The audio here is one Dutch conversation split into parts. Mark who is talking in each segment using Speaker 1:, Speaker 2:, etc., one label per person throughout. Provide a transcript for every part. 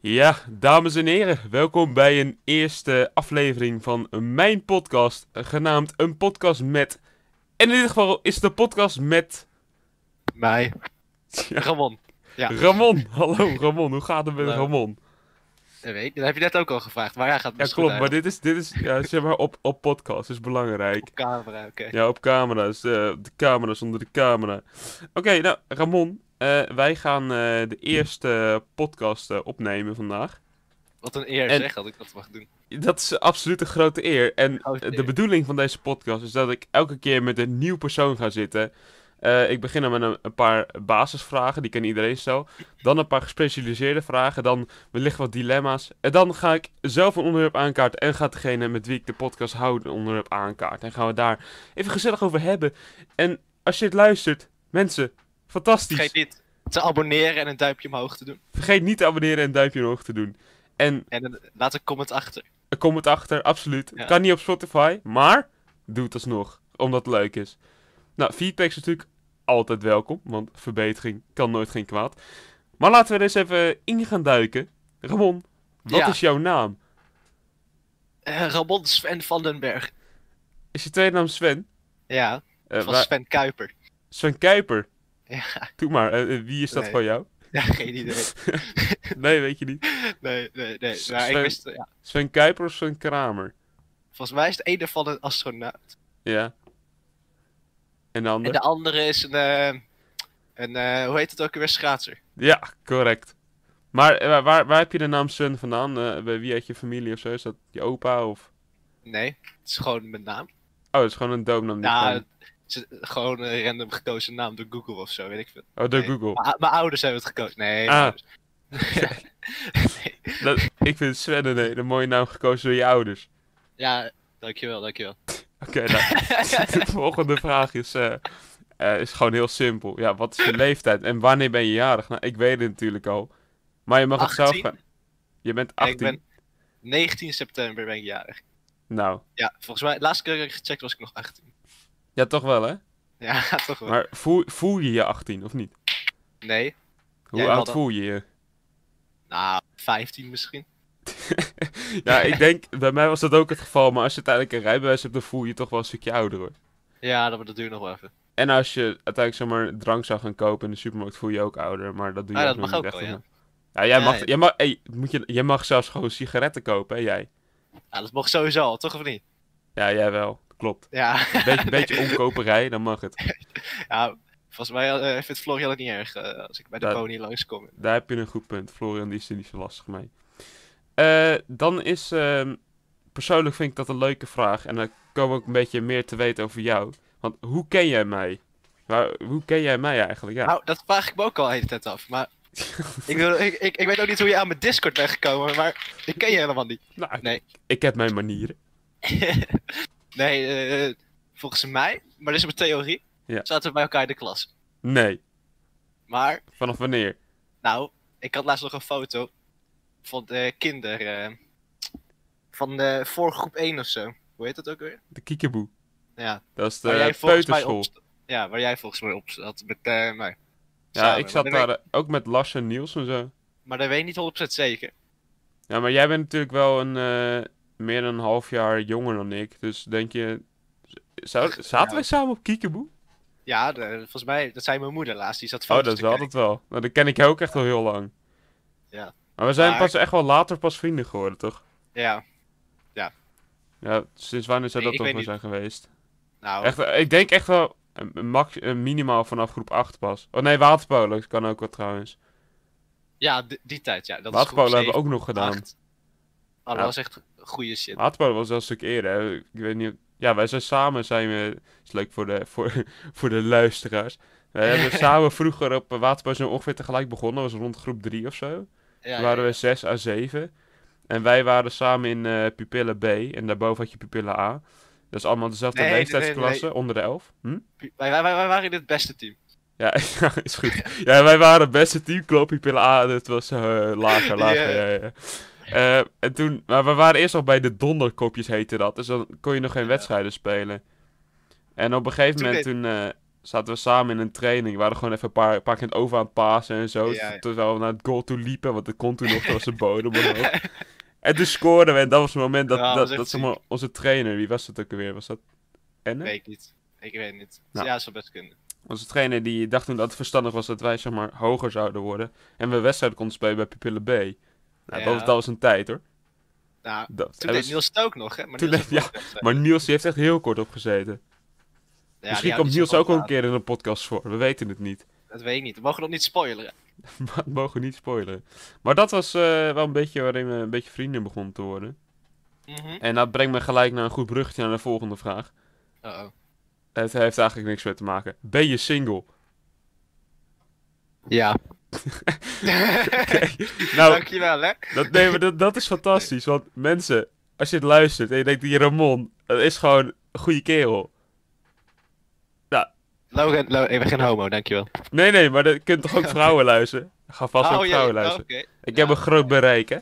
Speaker 1: Ja, dames en heren, welkom bij een eerste aflevering van mijn podcast, genaamd Een Podcast Met. En in dit geval is het een podcast met
Speaker 2: Mij.
Speaker 1: Ja.
Speaker 2: Ramon. Ja. Nou,
Speaker 1: Ramon. Hallo Ramon, hoe gaat het met
Speaker 2: Hallo.
Speaker 1: Ramon?
Speaker 2: Dat weet ik, dat heb je net ook al gevraagd, maar hij gaat
Speaker 1: Ja,
Speaker 2: best
Speaker 1: klopt,
Speaker 2: goed
Speaker 1: maar
Speaker 2: uit.
Speaker 1: dit is, dit is ja, zeg maar op, op podcast, is belangrijk.
Speaker 2: Op camera, oké.
Speaker 1: Ja, op camera, dus, eh, de camera's onder de camera. Oké, nou Ramon, eh, wij gaan eh, de eerste podcast eh, opnemen vandaag.
Speaker 2: Wat een eer
Speaker 1: En-
Speaker 2: zeg dat ik dat mag doen.
Speaker 1: Dat is absoluut een grote eer. En
Speaker 2: Grote
Speaker 1: eh, de
Speaker 2: eer.
Speaker 1: bedoeling van deze podcast is dat ik elke keer met een nieuw persoon ga zitten. Eh, ik begin dan met een, een paar basisvragen, die kan iedereen stellen. Dan een paar gespecialiseerde vragen, dan wellicht wat dilemma's. En dan ga ik zelf een onderwerp aankaarten en gaat degene met wie ik de podcast houd een onderwerp aankaarten. En gaan we daar even gezellig over hebben. En als je het luistert, mensen, fantastisch.
Speaker 2: Vergeet niet te abonneren en een duimpje omhoog te doen.
Speaker 1: Vergeet niet te abonneren en een duimpje omhoog te doen. En
Speaker 2: En een- laat een comment achter.
Speaker 1: Een comment achter, absoluut.
Speaker 2: Ja.
Speaker 1: Kan niet op Spotify, maar doe het alsnog, omdat het leuk is. Nou, feedback is natuurlijk altijd welkom, want verbetering kan nooit geen kwaad. Maar laten we er eens even in gaan duiken. Ramon, wat
Speaker 2: Ja.
Speaker 1: is jouw naam?
Speaker 2: Eh, Ramon Sven van den Berg.
Speaker 1: Is je tweede naam Sven?
Speaker 2: Ja,
Speaker 1: Eh,
Speaker 2: van
Speaker 1: waar-
Speaker 2: Sven Kuiper.
Speaker 1: Sven Kuiper.
Speaker 2: Ja,
Speaker 1: Doe maar, eh, eh, wie is dat
Speaker 2: Nee.
Speaker 1: van jou?
Speaker 2: ja, geen idee.
Speaker 1: Nee, weet je niet.
Speaker 2: Nee, nee, nee.
Speaker 1: S-
Speaker 2: Maar ik
Speaker 1: Sven-
Speaker 2: wist, ja.
Speaker 1: Sven Kuiper of Sven Kramer?
Speaker 2: Volgens mij is het ene van een astronaut.
Speaker 1: Ja. En de ander?
Speaker 2: En de andere is een, eh, een eh, hoe heet het ook weer, schaatser.
Speaker 1: Ja, correct. Maar eh, waar, waar heb je de naam Sven vandaan? Eh, bij wie uit je familie of zo? Is dat je opa of...
Speaker 2: Nee, het is gewoon mijn naam.
Speaker 1: Oh, het is gewoon een doopnaam. die
Speaker 2: Ja,
Speaker 1: gewoon-
Speaker 2: het is gewoon een random gekozen naam door Google of zo, weet ik veel.
Speaker 1: Oh, door
Speaker 2: nee.
Speaker 1: Google.
Speaker 2: Mijn- Mijn ouders hebben het gekozen. Nee.
Speaker 1: Ah.
Speaker 2: mijn ouders. Nee.
Speaker 1: Dat, ik vind Sven een hele mooie naam gekozen door je ouders.
Speaker 2: Ja, dankjewel, dankjewel.
Speaker 1: Oké, nou, de volgende vraag is, eh, eh, is gewoon heel simpel. Ja, wat is je leeftijd en wanneer ben je jarig? Nou, ik weet het natuurlijk al. Maar je mag het
Speaker 2: 18?
Speaker 1: zelf... Je bent
Speaker 2: En ik
Speaker 1: 18?
Speaker 2: ben 19 september ben ik jarig.
Speaker 1: Nou,
Speaker 2: Ja, volgens mij, laatste keer dat ik gecheckt was ik nog 18.
Speaker 1: ja toch wel hè?
Speaker 2: Ja, toch wel.
Speaker 1: Maar voel, voel je je 18 of niet?
Speaker 2: Nee,
Speaker 1: Hoe
Speaker 2: Ja, ik
Speaker 1: oud
Speaker 2: had al-
Speaker 1: voel je je?
Speaker 2: nou, 15 misschien.
Speaker 1: Ja, ik denk, bij mij was dat ook het geval, maar als je uiteindelijk een rijbewijs hebt, dan voel je je toch wel een stukje ouder hoor.
Speaker 2: Ja, dat, dat duurt nog wel even.
Speaker 1: En als je uiteindelijk zeg maar drank zou gaan kopen in de supermarkt, voel je je ook ouder, maar dat doe je
Speaker 2: Ah,
Speaker 1: ook
Speaker 2: dat
Speaker 1: nog
Speaker 2: mag
Speaker 1: niet
Speaker 2: ook
Speaker 1: echt,
Speaker 2: wel,
Speaker 1: hè? Ja, jij
Speaker 2: Ja,
Speaker 1: mag,
Speaker 2: ja.
Speaker 1: jij mag, hey, moet je, jij mag zelfs gewoon sigaretten kopen, hè, jij?
Speaker 2: Ja, dat mocht sowieso al, toch of niet?
Speaker 1: Ja, jij wel, klopt.
Speaker 2: Ja.
Speaker 1: Een beetje,
Speaker 2: Nee.
Speaker 1: beetje omkoperij, dan mag het.
Speaker 2: Ja, volgens mij eh, vindt Florian het niet erg eh, als ik bij de
Speaker 1: Dat-
Speaker 2: pony langskom.
Speaker 1: Daar heb je een goed punt. Florian die is er niet zo lastig mee. Eh, dan is, ehm, persoonlijk vind ik dat een leuke vraag. En dan komen we ook een beetje meer te weten over jou. Want hoe ken jij mij? Waar, hoe ken jij mij eigenlijk? Ja.
Speaker 2: Nou, dat vraag ik me ook al de hele tijd af, maar... ik, bedoel, ik, ik, ik weet ook niet hoe je aan mijn Discord bent gekomen, maar ik ken je helemaal niet.
Speaker 1: Nou, ik-
Speaker 2: nee.
Speaker 1: ik heb mijn manieren.
Speaker 2: Nee, eh, volgens mij, maar dit is mijn theorie,
Speaker 1: Ja.
Speaker 2: zaten we bij elkaar in de klas.
Speaker 1: Nee,
Speaker 2: Maar,
Speaker 1: vanaf wanneer?
Speaker 2: nou, ik had laatst nog een foto van de kinder, eh, van de voor groep 1 of zo. Hoe heet dat ook weer?
Speaker 1: De kiekeboe.
Speaker 2: Ja,
Speaker 1: Dat is
Speaker 2: waar
Speaker 1: de
Speaker 2: jij volgens mij
Speaker 1: peuterschool.
Speaker 2: op st- Ja, waar jij volgens mij op zat met eh, mij.
Speaker 1: Ja,
Speaker 2: Samen,
Speaker 1: ik zat
Speaker 2: maar dat
Speaker 1: daar eh, ook met Lars en Niels en zo.
Speaker 2: weet- Maar dat weet ik niet 100% zeker.
Speaker 1: Ja, maar jij bent natuurlijk wel een, eh, meer dan een half jaar jonger dan ik. Dus denk je... Zou, zaten wij samen op Kiekeboe?
Speaker 2: Ja, de- volgens mij, dat zei mijn moeder laatst, die zat
Speaker 1: Oh,
Speaker 2: foto's
Speaker 1: dat is
Speaker 2: te
Speaker 1: wel
Speaker 2: kijken.
Speaker 1: dat wel. Nou, dat ken ik jou ook echt al heel lang.
Speaker 2: Ja.
Speaker 1: Maar we zijn
Speaker 2: Maar-
Speaker 1: pas echt wel later pas vrienden geworden, toch?
Speaker 2: Ja,
Speaker 1: Ja, sinds wanneer zou dat
Speaker 2: Nee, ik
Speaker 1: toch maar
Speaker 2: weet
Speaker 1: zijn geweest?
Speaker 2: nou,
Speaker 1: Echt, eh, ik denk echt wel eh, max, eh, minimaal vanaf groep 8 pas. Oh nee, waterpolo kan ook wel trouwens.
Speaker 2: ja, die, die tijd, ja. Dat is groep
Speaker 1: Waterpolo hebben we
Speaker 2: zeven,
Speaker 1: ook nog gedaan.
Speaker 2: acht. Oh,
Speaker 1: Ja.
Speaker 2: dat was echt goede shit.
Speaker 1: Waterpolo was wel een stuk eerder. hè. Ik weet niet. Ja, wij zijn samen zijn we. Is leuk voor de, voor, voor de luisteraars. Wij hebben samen vroeger op eh, waterpolo zijn we ongeveer tegelijk begonnen. Dat was rond groep 3 of zo.
Speaker 2: Ja,
Speaker 1: Toen
Speaker 2: ja,
Speaker 1: waren we 6 à 7. En wij waren samen in eh pupillen B. En daarboven had je pupillen A. Dat is allemaal dezelfde
Speaker 2: Nee, nee, nee,
Speaker 1: leeftijdsklasse,
Speaker 2: nee.
Speaker 1: onder de 11. Hm?
Speaker 2: Wij, wij, wij, wij waren in het beste team.
Speaker 1: Ja, ja, ah, is goed. Ja, wij waren het beste team, klopt. Pupillen A, dat was eh, lager, lager.
Speaker 2: eh,
Speaker 1: ja, ja. Eh, en toen, maar we waren eerst nog bij de donderkopjes heette dat. Dus dan kon je nog geen
Speaker 2: Ja.
Speaker 1: wedstrijden spelen. En op een gegeven
Speaker 2: Toen
Speaker 1: moment toen eh, zaten we samen in een training. We waren gewoon even een paar, een paar keer over aan het pasen en zo.
Speaker 2: Ja, ja.
Speaker 1: Terwijl we naar het goal toe liepen, want dat kon toen nog, dat was de bodem omhoog. En toen scoorden we en dat was het moment dat,
Speaker 2: Ja, dat
Speaker 1: dat,
Speaker 2: was echt
Speaker 1: dat zeg maar, onze trainer, wie was het ook alweer? Was dat Enne?
Speaker 2: Weet ik niet. Ik weet het niet.
Speaker 1: Nou.
Speaker 2: Ja, dat zou best kunnen.
Speaker 1: Onze trainer die dacht toen dat het verstandig was dat wij zeg maar hoger zouden worden. En we wedstrijd konden spelen bij Pupillen B. Nou, dat,
Speaker 2: Ja.
Speaker 1: was, dat was een tijd hoor.
Speaker 2: Nou,
Speaker 1: Dat,
Speaker 2: toen
Speaker 1: en
Speaker 2: deed
Speaker 1: we-
Speaker 2: Niels het ook nog, hè? Maar
Speaker 1: dus- Toen
Speaker 2: Niels
Speaker 1: deed-
Speaker 2: heeft ook nog, eh,
Speaker 1: Maar Niels die heeft echt heel kort opgezeten.
Speaker 2: ja, die
Speaker 1: Misschien
Speaker 2: houdt dus
Speaker 1: komt
Speaker 2: niet
Speaker 1: Niels
Speaker 2: zoveel
Speaker 1: ook al een
Speaker 2: van.
Speaker 1: keer in een podcast voor. We weten het niet.
Speaker 2: Dat weet ik niet. We mogen dat niet spoileren.
Speaker 1: Maar dat mogen we niet spoileren. Maar dat was eh, wel een beetje waarin we een beetje vrienden begonnen te worden.
Speaker 2: Mhm.
Speaker 1: En dat brengt me gelijk naar een goed bruggetje naar de volgende vraag.
Speaker 2: Uh-oh.
Speaker 1: Het heeft eigenlijk niks mee te maken. Ben je single?
Speaker 2: Ja.
Speaker 1: Nou,
Speaker 2: Dankjewel, hè?
Speaker 1: Dat, nee, maar dat, dat is fantastisch. Want mensen, als je het luistert en je denkt, die Ramon, dat is gewoon een goede kerel.
Speaker 2: Logan, Lo- ik ben geen homo, dankjewel. Oh,
Speaker 1: Nee, nee, maar dat kunt toch ook vrouwen luisteren? Ga vast ook
Speaker 2: ja,
Speaker 1: vrouwen
Speaker 2: ja,
Speaker 1: luisteren.
Speaker 2: oké.
Speaker 1: Ik
Speaker 2: ja.
Speaker 1: heb een groot bereik, hè.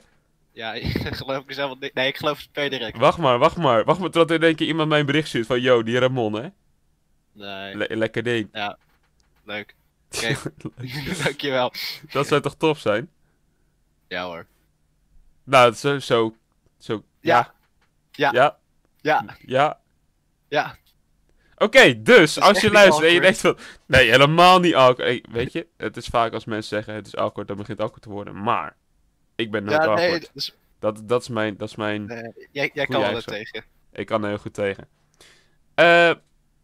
Speaker 2: Ja, geloof ik zelf wat niet. Nee, ik geloof het per direct.
Speaker 1: Wacht maar, wacht maar. Wacht maar totdat er in één keer iemand mij een bericht stuurt van, yo, die Ramon, hè.
Speaker 2: Nee,
Speaker 1: Le- lekker ding.
Speaker 2: leuk. Oké. dankjewel.
Speaker 1: Dat zou toch tof zijn?
Speaker 2: Ja hoor.
Speaker 1: Nou, dat is zo, zo, zo.
Speaker 2: Ja. Ja.
Speaker 1: Ja.
Speaker 2: Ja,
Speaker 1: ja.
Speaker 2: ja.
Speaker 1: Oké, dus
Speaker 2: is
Speaker 1: als
Speaker 2: echt
Speaker 1: je
Speaker 2: niet
Speaker 1: luistert en je denkt
Speaker 2: awkward.
Speaker 1: van. Nee, helemaal niet awkward. Hey, weet je, het is vaak als mensen zeggen het is awkward, dan begint het awkward te worden. Maar, ik ben nooit
Speaker 2: Ja,
Speaker 1: awkward.
Speaker 2: nee, dus,
Speaker 1: Dat, dat is mijn. Dat is mijn
Speaker 2: eh, jij,
Speaker 1: Goeie
Speaker 2: jij kan wel er
Speaker 1: eigenschap.
Speaker 2: tegen.
Speaker 1: Ik kan er heel goed tegen. Eh,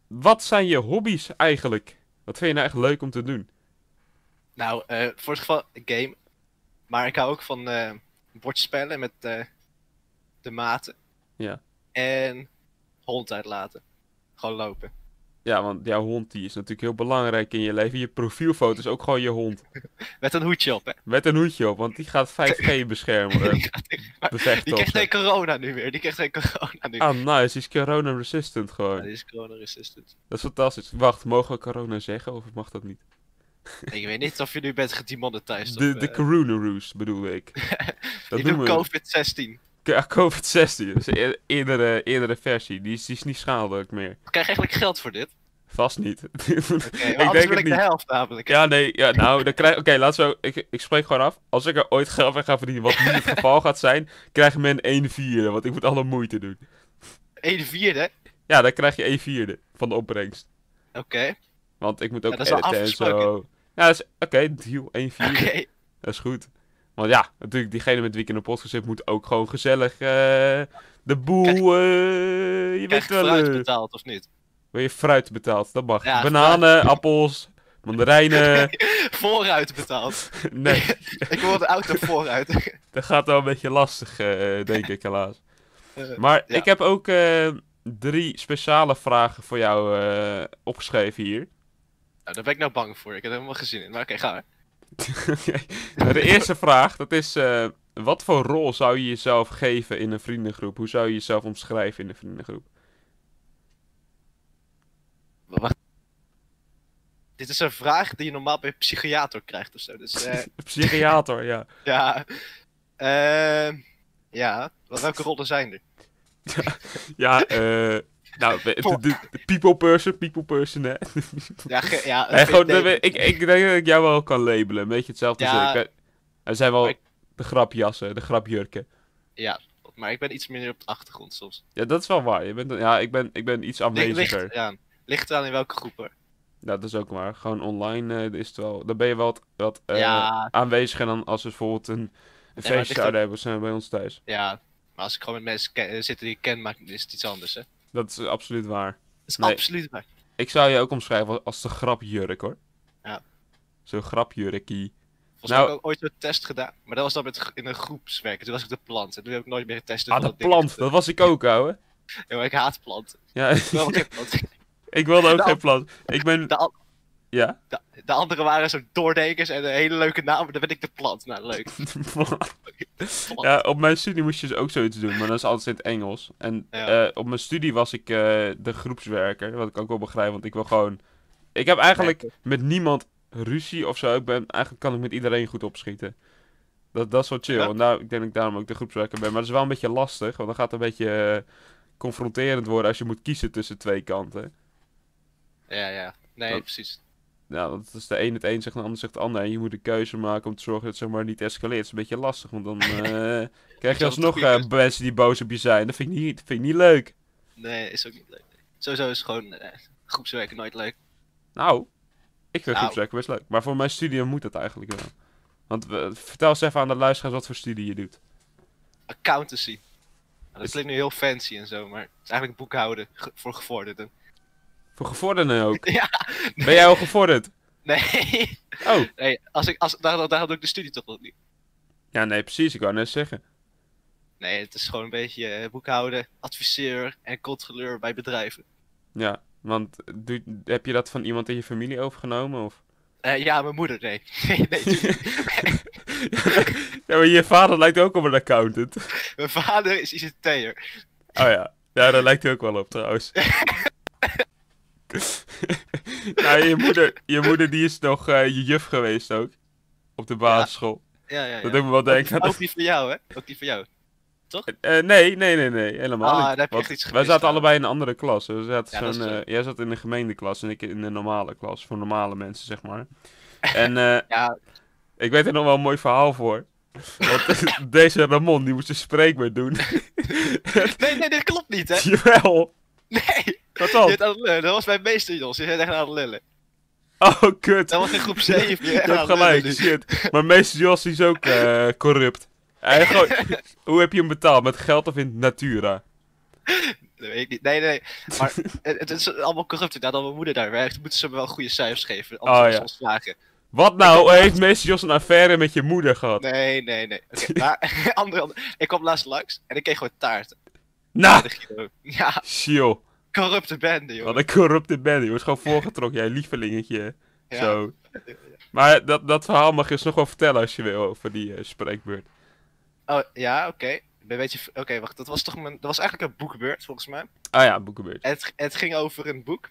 Speaker 1: wat zijn je hobby's eigenlijk? Wat vind je nou echt leuk om te doen?
Speaker 2: Nou, eh, voor het geval een game. Maar ik hou ook van eh bordspellen met eh, de maten.
Speaker 1: Ja.
Speaker 2: En hond uitlaten. Gewoon lopen.
Speaker 1: Ja, want jouw hond die is natuurlijk heel belangrijk in je leven. Je profielfoto is ook gewoon je hond.
Speaker 2: Met een hoedje op, hè.
Speaker 1: Met een hoedje op, want die gaat 5G beschermen. eh, Bevechten
Speaker 2: Die
Speaker 1: of
Speaker 2: krijgt
Speaker 1: zo.
Speaker 2: geen corona nu meer. Die krijgt geen corona nu.
Speaker 1: Ah, nice. Die is corona-resistant
Speaker 2: Ja,
Speaker 1: gewoon.
Speaker 2: die is corona resistant.
Speaker 1: Dat is fantastisch. Wacht, mogen we corona zeggen of mag dat niet?
Speaker 2: Ik weet niet of je nu bent gedemonetized.
Speaker 1: De,
Speaker 2: of,
Speaker 1: de
Speaker 2: eh,
Speaker 1: corona roos bedoel ik.
Speaker 2: ik
Speaker 1: noemen
Speaker 2: doe
Speaker 1: we-
Speaker 2: COVID-16.
Speaker 1: Ja, COVID-16. Dat is een eer- eerdere, eerdere versie. Die is, die is niet schadelijk meer.
Speaker 2: Ik krijg eigenlijk geld voor dit.
Speaker 1: Vast niet.
Speaker 2: Oké, maar
Speaker 1: ik
Speaker 2: anders
Speaker 1: denk
Speaker 2: wil
Speaker 1: het
Speaker 2: ik de
Speaker 1: niet.
Speaker 2: helft namelijk.
Speaker 1: Ja, nee. Ja, nou, dan krijg Oké, laten we. Ik, ik spreek gewoon af. Als ik er ooit geld aan ga verdienen, wat niet het geval gaat zijn, krijgt men 1 vierde. Want ik moet alle moeite doen.
Speaker 2: 1 vierde.
Speaker 1: Ja, dan krijg je 1 vierde van de opbrengst.
Speaker 2: Oké.
Speaker 1: Want ik moet ook
Speaker 2: Ja, dat is al
Speaker 1: editen en
Speaker 2: afgesproken.
Speaker 1: zo. Ja, dat is- oké, deal. 1
Speaker 2: Oké.
Speaker 1: vierde. Dat is goed. Want ja, natuurlijk, diegene met wie ik in de podcast zit, moet ook gewoon gezellig eh, de boel. eh, je weet
Speaker 2: Krijg je
Speaker 1: wel.
Speaker 2: fruit
Speaker 1: eh
Speaker 2: betaald of niet?
Speaker 1: wil je fruit betaald? Dat mag.
Speaker 2: Ja,
Speaker 1: Bananen, appels, mandarijnen.
Speaker 2: Vooruit betaald.
Speaker 1: nee,
Speaker 2: ik wil de auto vooruit.
Speaker 1: dat gaat wel een beetje lastig, eh, denk ik helaas.
Speaker 2: Eh,
Speaker 1: Maar
Speaker 2: ja.
Speaker 1: ik heb ook eh, drie speciale vragen voor jou eh, opgeschreven hier.
Speaker 2: nou, daar ben ik nou bang voor. Ik heb er helemaal geen zin in. Maar oké, ga maar.
Speaker 1: Oké. Nou, De eerste vraag, dat is... eh, wat voor rol zou je jezelf geven in een vriendengroep? Hoe zou je jezelf omschrijven in een vriendengroep?
Speaker 2: Wacht. Dit is een vraag die je normaal bij een psychiater krijgt of zo. Dus eh,
Speaker 1: Psychiater, ja.
Speaker 2: ja. Ehm ja. Wel- Welke rollen zijn er?
Speaker 1: Ja, eh... Nou, we- de, de- de people person, people person, hè.
Speaker 2: Ja, ge- ja,
Speaker 1: Nee, gewoon,
Speaker 2: nee,
Speaker 1: we- ik, ik denk dat ik jou wel kan labelen. Een beetje hetzelfde
Speaker 2: Ja.
Speaker 1: als ik. eh, Er zijn wel
Speaker 2: Maar ik-
Speaker 1: de grapjassen, de grapjurken.
Speaker 2: Ja, maar ik ben iets minder op de achtergrond soms.
Speaker 1: Ja, dat is wel waar. Je bent, ja, ik ben, ik ben iets
Speaker 2: Ligt,
Speaker 1: aanweziger.
Speaker 2: ligt, eraan. ligt eraan in welke groep hoor.
Speaker 1: Ja, dat is ook waar. Gewoon online eh, is het wel... Dan ben je wel wat, wat eh,
Speaker 2: Ja.
Speaker 1: aanweziger dan als we bijvoorbeeld een, een
Speaker 2: ligt
Speaker 1: feestje zouden hebben zijn we bij ons thuis.
Speaker 2: Ja, maar als ik gewoon met mensen ke- eh, zit die ik ken, maakt is het iets anders hè.
Speaker 1: Dat is absoluut waar.
Speaker 2: Dat is
Speaker 1: Nee.
Speaker 2: absoluut waar.
Speaker 1: Ik zou je ook omschrijven als, als de grapjurk, hoor.
Speaker 2: Ja.
Speaker 1: Zo'n grapjurkie. Nou-
Speaker 2: Volgens mij heb ik ook ooit zo'n test gedaan, maar dat was dan met, gro- in een groepswerk. En Toen was ik de plant en toen heb Dus ik eh, nooit meer getest.
Speaker 1: Ah, de plant. Dat was ik ook, ouwe.
Speaker 2: Ja, maar ik haat planten.
Speaker 1: Ja,
Speaker 2: Ik wil geen planten.
Speaker 1: ik wilde ook
Speaker 2: Nou,
Speaker 1: geen plant. Ik ben...
Speaker 2: De, an-
Speaker 1: Ja?
Speaker 2: de, de anderen waren zo'n doordekers en een hele leuke naam, maar dan ben ik de plant. Nou, leuk.
Speaker 1: ja, op mijn studie moest je dus ook zoiets doen, maar dat is altijd in het Engels. En
Speaker 2: Ja.
Speaker 1: eh, op mijn studie was ik eh, de groepswerker, wat ik ook wel begrijp, want ik wil gewoon... Ik heb eigenlijk met niemand ruzie of zo, ik ben, eigenlijk kan ik met iedereen goed opschieten. Dat, dat is wel chill.
Speaker 2: Ja.
Speaker 1: Want daar, ik denk dat ik daarom ook de groepswerker ben. Maar dat is wel een beetje lastig, want dan gaat het een beetje eh, confronterend worden als je moet kiezen tussen twee kanten.
Speaker 2: Ja, ja. Nee,
Speaker 1: Dat-
Speaker 2: precies.
Speaker 1: Nou, want als de een het een zegt en de ander zegt het ander. En je moet een keuze maken om te zorgen dat het zeg maar, niet escaleert. Dat is een beetje lastig, want dan eh, krijg je
Speaker 2: altijd
Speaker 1: alsnog
Speaker 2: goede
Speaker 1: eh, mensen die boos op je zijn. Dat vind ik niet, vind ik niet leuk.
Speaker 2: Nee, is ook niet leuk. Sowieso is gewoon eh, groepswerken nooit leuk.
Speaker 1: Nou, ik vind
Speaker 2: Nou.
Speaker 1: groepswerken best leuk. Maar voor mijn studie moet dat eigenlijk wel. Want we- vertel eens even aan de luisteraars wat voor studie je doet.
Speaker 2: Accountancy. Nou,
Speaker 1: Is-
Speaker 2: dat klinkt nu heel fancy en zo, maar het is eigenlijk boekhouden ge- voor gevorderden.
Speaker 1: Voor gevorderden ook.
Speaker 2: Ja,
Speaker 1: Ben jij al gevorderd?
Speaker 2: Nee,
Speaker 1: Oh,
Speaker 2: nee als ik, als, daar, daar had ik de studie toch nog niet.
Speaker 1: ja, nee, precies. Ik wou net zeggen.
Speaker 2: Nee, het is gewoon een beetje eh, boekhouden, adviseur en controleur bij bedrijven.
Speaker 1: Ja, want doe- heb je dat van iemand in je familie overgenomen? Of?
Speaker 2: Eh, ja, mijn moeder, nee. Nee, nee, tuurlijk niet.
Speaker 1: Ja, maar je vader lijkt ook op een accountant.
Speaker 2: mijn vader is ICT'er.
Speaker 1: Oh ja, ja daar lijkt hij ook wel op trouwens. nou, je moeder, je moeder die is nog eh, je juf geweest ook. Op de basisschool.
Speaker 2: Ja, ja,
Speaker 1: Dat
Speaker 2: ja.
Speaker 1: doet me wel denken. aan-
Speaker 2: Ook die van jou, hè? Ook die van jou.
Speaker 1: Eh, nee, nee, nee, nee, helemaal
Speaker 2: Ah,
Speaker 1: niet.
Speaker 2: daar heb je
Speaker 1: Want
Speaker 2: echt iets
Speaker 1: wij
Speaker 2: gemist,
Speaker 1: zaten
Speaker 2: ouwe.
Speaker 1: allebei in een andere klas. We zaten
Speaker 2: Ja, dat is
Speaker 1: zo'n,
Speaker 2: zo.
Speaker 1: eh, jij zat in een gemeendeklas en ik in een normale klas. Voor normale mensen, zeg maar. En eh,
Speaker 2: Ja,
Speaker 1: ik weet er nog wel een mooi verhaal voor. Want deze Ramon, die moest een spreekbeurt doen.
Speaker 2: nee, nee, dit klopt niet, hè? oh,
Speaker 1: Jawel,
Speaker 2: Nee,
Speaker 1: wat
Speaker 2: je
Speaker 1: dan?
Speaker 2: bent aan het lullen. Dat was mijn meester, Jos. Je bent echt aan het lullen.
Speaker 1: Oh, kut.
Speaker 2: Dat was in groep 7.
Speaker 1: Je,
Speaker 2: Je, bent
Speaker 1: je
Speaker 2: echt aan
Speaker 1: hebt
Speaker 2: het lullen dus-
Speaker 1: gelijk,
Speaker 2: nu.
Speaker 1: shit. Maar meester Jos is ook eh, corrupt. Hij gooit- hoe heb je hem betaald? Met geld of in natura?
Speaker 2: Dat weet ik niet. Nee, nee. Maar het, het is allemaal corrupt. Nadat mijn moeder daar werkt, moeten ze me wel goede cijfers geven. Anders
Speaker 1: Oh,
Speaker 2: gaan ze
Speaker 1: ja.
Speaker 2: ons vragen.
Speaker 1: Wat nou? Heeft meester Jos een affaire met je moeder gehad?
Speaker 2: Nee, nee, nee. Oké, maar andere, andere- ik kwam laatst langs en ik kreeg gewoon taart.
Speaker 1: Nou,
Speaker 2: De Guido. Ja,
Speaker 1: chill.
Speaker 2: corrupte bende, joh.
Speaker 1: Wat een corrupte ben. Je wordt gewoon voorgetrokken, jij lievelingetje.
Speaker 2: Ja.
Speaker 1: Zo. Maar dat, dat verhaal mag je eens nog wel vertellen als je wil over die eh, spreekbeurt.
Speaker 2: Oh, ja, oké. Ik ben Een beetje... ver- Oké, wacht. Dat was toch mijn... Dat was eigenlijk een boekbeurt, volgens mij.
Speaker 1: Ah ja, boekenbeurt.
Speaker 2: En het, het ging over een boek.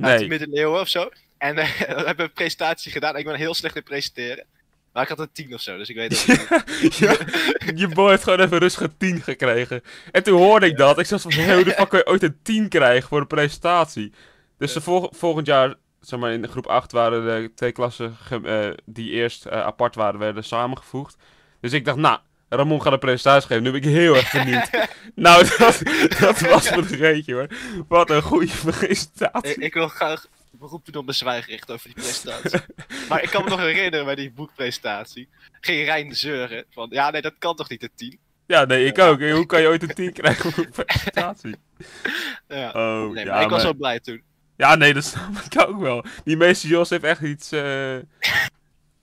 Speaker 2: Uit de
Speaker 1: Nee.
Speaker 2: middeleeuwen of zo. En eh, we hebben een presentatie gedaan. Ik ben heel slecht in presenteren. Maar ik had een 10 of zo, dus ik weet het niet.
Speaker 1: Ja, je boy heeft gewoon even rustig een 10 gekregen. En toen hoorde ik dat. Ik zat van, hey, hoe de fuck kan je ooit een 10 krijgen voor een presentatie? Dus de volg- volgend jaar, zeg maar in groep 8, waren de twee klassen ge- eh, die eerst eh, apart waren, werden samengevoegd. Dus ik dacht, nou, Ramon gaat een presentatie geven. Nu ben ik heel erg benieuwd. nou, dat, dat was me een reetje hoor. Wat een goede presentatie.
Speaker 2: ik, ik wil graag beroep doen op mijn zwijgrecht over die presentatie. maar ik kan me nog herinneren bij die boekpresentatie. Ging Rijn zeuren van, ja nee, dat kan toch niet, de 10?
Speaker 1: Ja, nee, ik ook. Hoe kan je ooit een 10 krijgen voor een presentatie?
Speaker 2: Ja.
Speaker 1: Oh,
Speaker 2: Nee,
Speaker 1: ja,
Speaker 2: maar ik was
Speaker 1: maar-
Speaker 2: zo blij toen.
Speaker 1: Ja, nee, dat snap ik ook wel. Die meester Jos heeft echt iets. eh, er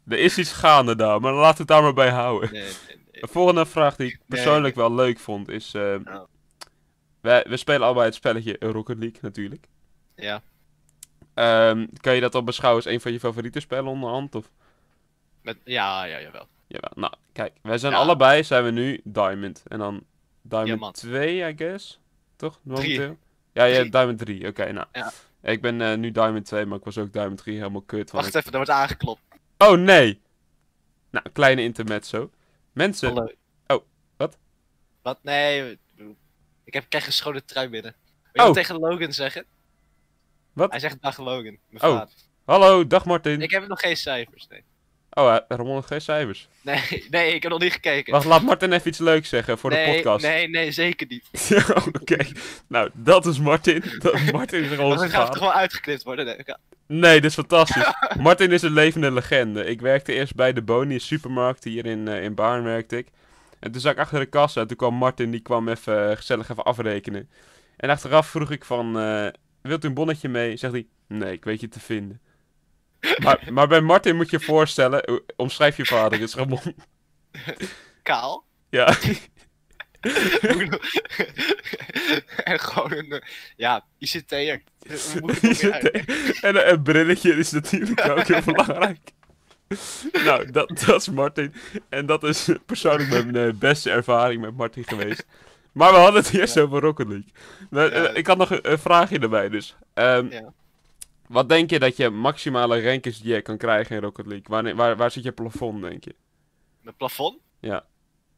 Speaker 1: is iets gaande daar, maar laten we het daar maar bij houden.
Speaker 2: Nee, nee, nee.
Speaker 1: De volgende vraag die ik persoonlijk wel leuk vond is. eh,
Speaker 2: Nou.
Speaker 1: wij, we spelen allebei het spelletje Rocket League natuurlijk.
Speaker 2: Ja.
Speaker 1: Ehm, kan je dat dan beschouwen als een van je favoriete spellen onderhand? Of?
Speaker 2: Met, ja, ja, jawel.
Speaker 1: Jawel. Nou, kijk, wij zijn
Speaker 2: Ja.
Speaker 1: allebei zijn we nu Diamond. En dan Diamond
Speaker 2: Diamant.
Speaker 1: 2, I guess. Toch?
Speaker 2: Drie.
Speaker 1: Momenteel? Ja, ja,
Speaker 2: Drie.
Speaker 1: Diamond 3. Oké, nou.
Speaker 2: Ja.
Speaker 1: Ik ben eh, nu Diamond 2, maar ik was ook Diamond 3 helemaal kut. want ik-
Speaker 2: Wacht even, er wordt aangeklopt.
Speaker 1: Oh nee! Nou, kleine intermezzo. Mensen,
Speaker 2: Hallo.
Speaker 1: Oh, wat?
Speaker 2: Wat? Nee, ik heb, krijg een schone trui binnen. Wil je wat
Speaker 1: Oh.
Speaker 2: tegen Logan zeggen?
Speaker 1: Wat?
Speaker 2: Hij zegt dag Logan, mijn
Speaker 1: Oh.
Speaker 2: vader.
Speaker 1: hallo, dag Martin.
Speaker 2: Ik heb nog geen cijfers, nee.
Speaker 1: Oh, eh, Ramon heeft geen cijfers.
Speaker 2: Nee, nee, ik heb nog niet gekeken.
Speaker 1: Wacht, laat Martin even iets leuks zeggen voor
Speaker 2: nee,
Speaker 1: de podcast.
Speaker 2: Nee, nee, zeker niet.
Speaker 1: Oké, nou, dat is Martin. Dat, Martin is gewoon
Speaker 2: Want
Speaker 1: onze
Speaker 2: het gaat toch
Speaker 1: vader.
Speaker 2: wel uitgeknipt worden. Nee, oké.
Speaker 1: Nee, dit is fantastisch. Martin is een levende legende. Ik werkte eerst bij de Boni supermarkt hier in, eh, in Baarn werkte ik. En toen zat ik achter de kassa en toen kwam Martin, die kwam even eh, gezellig even afrekenen. En achteraf vroeg ik van, eh, wilt u een bonnetje mee? Zegt hij, nee, ik weet je te vinden. Maar, maar bij Martin moet je je voorstellen, eh, omschrijf je vader, is Ramon.
Speaker 2: Kaal.
Speaker 1: Ja,
Speaker 2: en gewoon een, eh, ja, ICT'er. Hoe moet ik
Speaker 1: Die
Speaker 2: het ook weer
Speaker 1: zit
Speaker 2: uit-
Speaker 1: er- en een- een brilletje is natuurlijk ook heel belangrijk. Nou, dat, dat is Martin. En dat is persoonlijk mijn eh, beste ervaring met Martin geweest. Maar we hadden het eerst over Rocket League. Nou, eh,
Speaker 2: Ja.
Speaker 1: Ik had nog een, een vraagje erbij dus. Ehm,
Speaker 2: Ja.
Speaker 1: Wat denk je dat je maximale rank is die je kan krijgen in Rocket League? Wanneer, waar, waar zit je plafond, denk je?
Speaker 2: mijn plafond.
Speaker 1: Ja.